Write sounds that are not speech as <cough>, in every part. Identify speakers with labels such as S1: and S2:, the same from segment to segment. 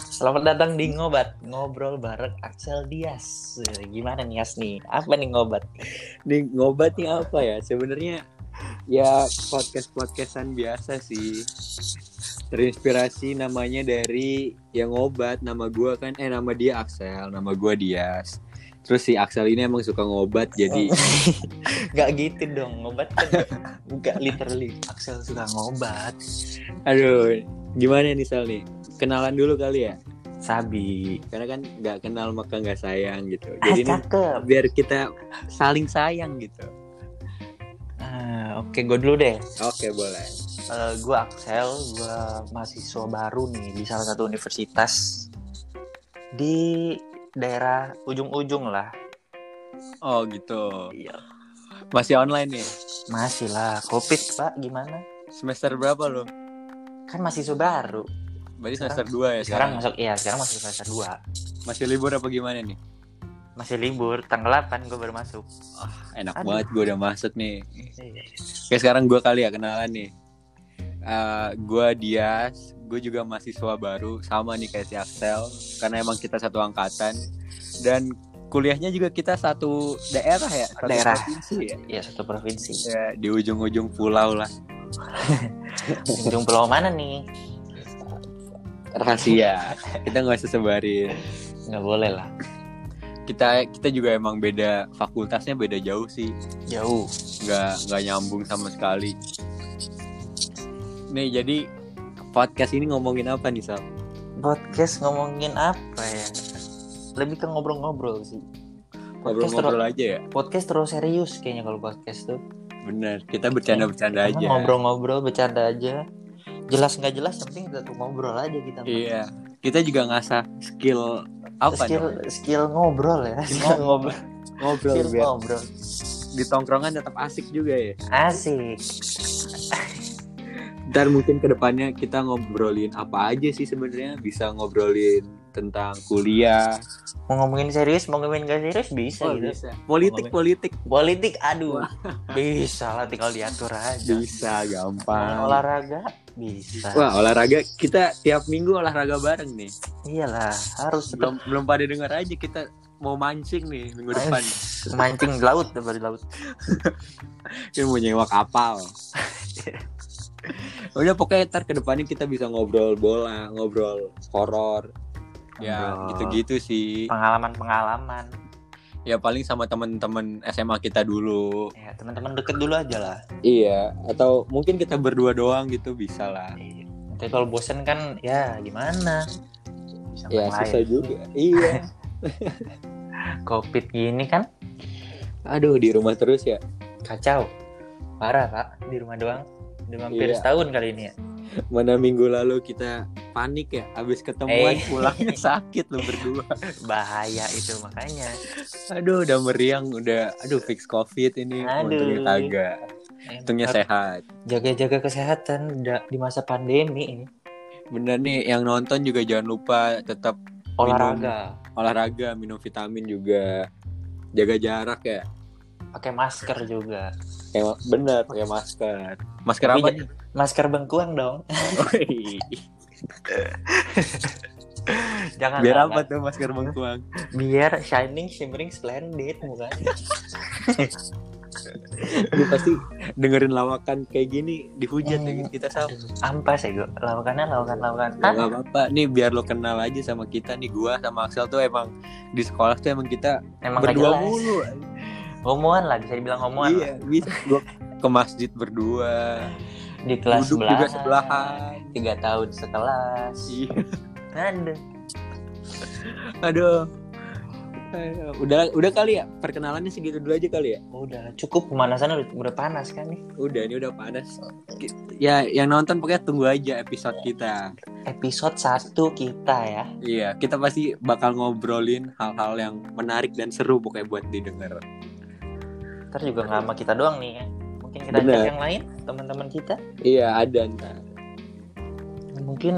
S1: Selamat datang di Ngobat, ngobrol bareng Axel Dias. Eh, Gimana nih As nih? Apa nih Ngobat?
S2: Nih ngobat nih apa ya? Sebenarnya ya podcast-podcastan biasa sih. Terinspirasi namanya dari yang ngobat. Nama gua kan eh nama dia Axel, nama gua Dias. Terus si Axel ini emang suka ngobat jadi <laughs>
S1: <laughs> Gak Oh. gitu dong, Ngobat kan bukan literally Axel suka ngobat.
S2: aduh gimana nih Sal nih? Kenalan dulu kali ya.
S1: Sabi.
S2: Karena kan nggak kenal maka nggak sayang gitu.
S1: Ah,
S2: Jadi nih
S1: cakep.
S2: biar kita saling sayang gitu.
S1: Ah, Oke, gue dulu deh.
S2: Oke, boleh.
S1: Eh, gue Axel, gue mahasiswa baru nih di salah satu universitas di daerah ujung-ujung lah.
S2: Oh, gitu.
S1: Iya.
S2: Masih online nih.
S1: Masih lah, covid pak, gimana?
S2: Semester berapa lo?
S1: Kan mahasiswa baru.
S2: Berarti
S1: Sekarang-
S2: semester 2 ya
S1: Sekarang
S2: sekarang.
S1: masuk, iya sekarang masuk semester 2
S2: Masih libur apa gimana nih?
S1: masih libur tanggal 8 gue baru masuk
S2: Enak
S1: Aduh.
S2: banget gue udah masuk nih. Iya. Kayak sekarang gue kali ya kenalan nih. gue Dias, gue juga mahasiswa baru sama nih kayak si Axel karena emang kita satu angkatan dan kuliahnya juga kita satu daerah ya, satu
S1: Daerah.
S2: provinsi ya.
S1: ya satu provinsi
S2: Ya, di ujung-ujung pulau lah.
S1: ujung pulau mana nih
S2: Rahasia. Iya, kita nggak usah sebarin.
S1: nggak boleh lah
S2: Kita kita juga emang beda fakultasnya beda jauh sih.
S1: jauh
S2: nggak nggak nyambung sama sekali. Nih jadi podcast ini ngomongin apa nih Sal?
S1: podcast ngomongin apa ya lebih ke ngobrol-ngobrol sih podcast
S2: Ngobrol-ngobrol aja ya.
S1: terlalu- podcast terlalu serius kayaknya kalau podcast tuh
S2: Bener. Kita bercanda-bercanda
S1: Emang
S2: aja.
S1: ngobrol-ngobrol bercanda aja jelas nggak jelas yang penting kita tuh ngobrol aja kita
S2: Iya. Kita juga ngasah skill apa
S1: skill
S2: namanya?
S1: skill ngobrol ya skill ngobrol
S2: Ngobrol
S1: skill
S2: biar
S1: ngobrol
S2: di tongkrongan tetap asik juga ya.
S1: asik
S2: Dan mungkin kedepannya kita ngobrolin apa aja sih sebenarnya? Bisa ngobrolin tentang kuliah,
S1: mau ngomongin serius mau ngomongin gak serius bisa
S2: Oh,
S1: gitu
S2: bisa. politik, politik
S1: Politik aduh bisa lah tinggal diatur aja. Mau
S2: bisa gampang.
S1: Olahraga bisa.
S2: Wah olahraga kita tiap minggu olahraga bareng nih.
S1: Iyalah harus tetap
S2: belum belum pada dengar aja kita mau mancing nih minggu depan
S1: Eh, mancing di laut dari laut.
S2: kita mau nyewa <laughs> kapal udah pokoknya ntar kedepannya kita bisa ngobrol bola ngobrol horor ya
S1: Ngobrol
S2: gitu-gitu sih
S1: Pengalaman-pengalaman.
S2: ya paling sama temen-temen SMA kita dulu
S1: Ya teman-teman deket dulu aja lah.
S2: iya atau mungkin kita berdua doang gitu bisa lah
S1: Iya. Nanti kalau bosen kan ya gimana? Bisa
S2: ya
S1: main
S2: susah
S1: lain.
S2: juga iya
S1: Nah, Covid gini kan
S2: <laughs> aduh di rumah terus ya
S1: kacau. Parah pak di rumah doang. Udah hampir
S2: Iya.
S1: setahun kali ini ya.
S2: mana minggu lalu kita panik ya abis ketemuan
S1: Eh.
S2: pulangnya sakit lo berdua
S1: Bahaya itu makanya.
S2: Aduh, udah meriang, udah aduh fix covid ini.
S1: Aduh.
S2: Untungnya kagak. Untungnya
S1: Tetap
S2: sehat.
S1: Eh, Jaga-jaga kesehatan da- di masa pandemi ini.
S2: Bener nih, yang nonton juga jangan lupa tetap
S1: Olahraga.
S2: olahraga, minum vitamin juga, jaga jarak ya.
S1: pakai masker juga
S2: Kayak bener, pakai masker. Masker
S1: Tapi
S2: apa? <laughs>
S1: ja- masker bengkuang dong <laughs>
S2: nih?
S1: jangan
S2: Biar
S1: lah,
S2: apa
S1: Kak.
S2: tuh masker mengkuang?
S1: biar shining shimmering splendid bukan
S2: Lu pasti dengerin lawakan Iya, kayak gini dihujat lagi
S1: Hmm.
S2: kita sama.
S1: ampas ya gue lawakannya lawakan lawakan
S2: Ya, nggak apa-apa. Nih biar lo kenal aja sama kita nih gua sama Axel tuh emang di sekolah tuh emang kita
S1: emang gak
S2: berdua
S1: jelas
S2: mulu.
S1: ngomongan lah bisa dibilang ngomongan
S2: iya, bisa. Gua ke masjid berdua,
S1: lah. di kelas
S2: duduk
S1: sebelahan,
S2: juga sebelahan.
S1: tiga tahun sekelas
S2: Iya.
S1: Aduh.
S2: Aduh. Aduh. Udah udah kali ya perkenalannya segitu dulu aja kali ya.
S1: udah cukup pemanasan udah, udah panas kan nih
S2: Udah ini udah panas. Ki- Ya yang nonton pokoknya tunggu aja episode kita.
S1: episode 1 kita ya
S2: Iya, kita pasti bakal ngobrolin hal-hal yang menarik dan seru pokoknya buat didengar.
S1: ntar juga nggak sama kita doang nih ya mungkin kita
S2: Bener.
S1: ajak yang lain teman-teman kita
S2: Iya, ada ntar.
S1: mungkin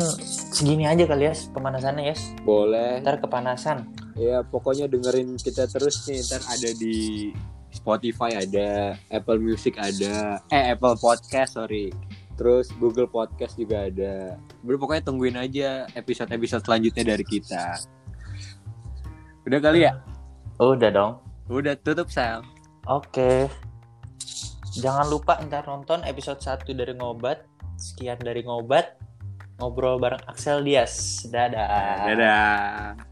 S1: segini aja kali ya pemanasannya ya
S2: Boleh.
S1: ntar kepanasan
S2: Iya, pokoknya dengerin kita terus nih. Ntar ada di Spotify ada, Apple Music ada, eh Apple Podcast sorry, Terus Google Podcast juga ada. Bro pokoknya tungguin aja episode-episode selanjutnya dari kita. Udah kali ya?
S1: Udah dong.
S2: Udah tutup Sal.
S1: Oke. Jangan lupa ntar nonton episode 1 dari Ngobat. Sekian dari Ngobat. Ngobrol bareng Axel Dias. Dadah.
S2: Dadah.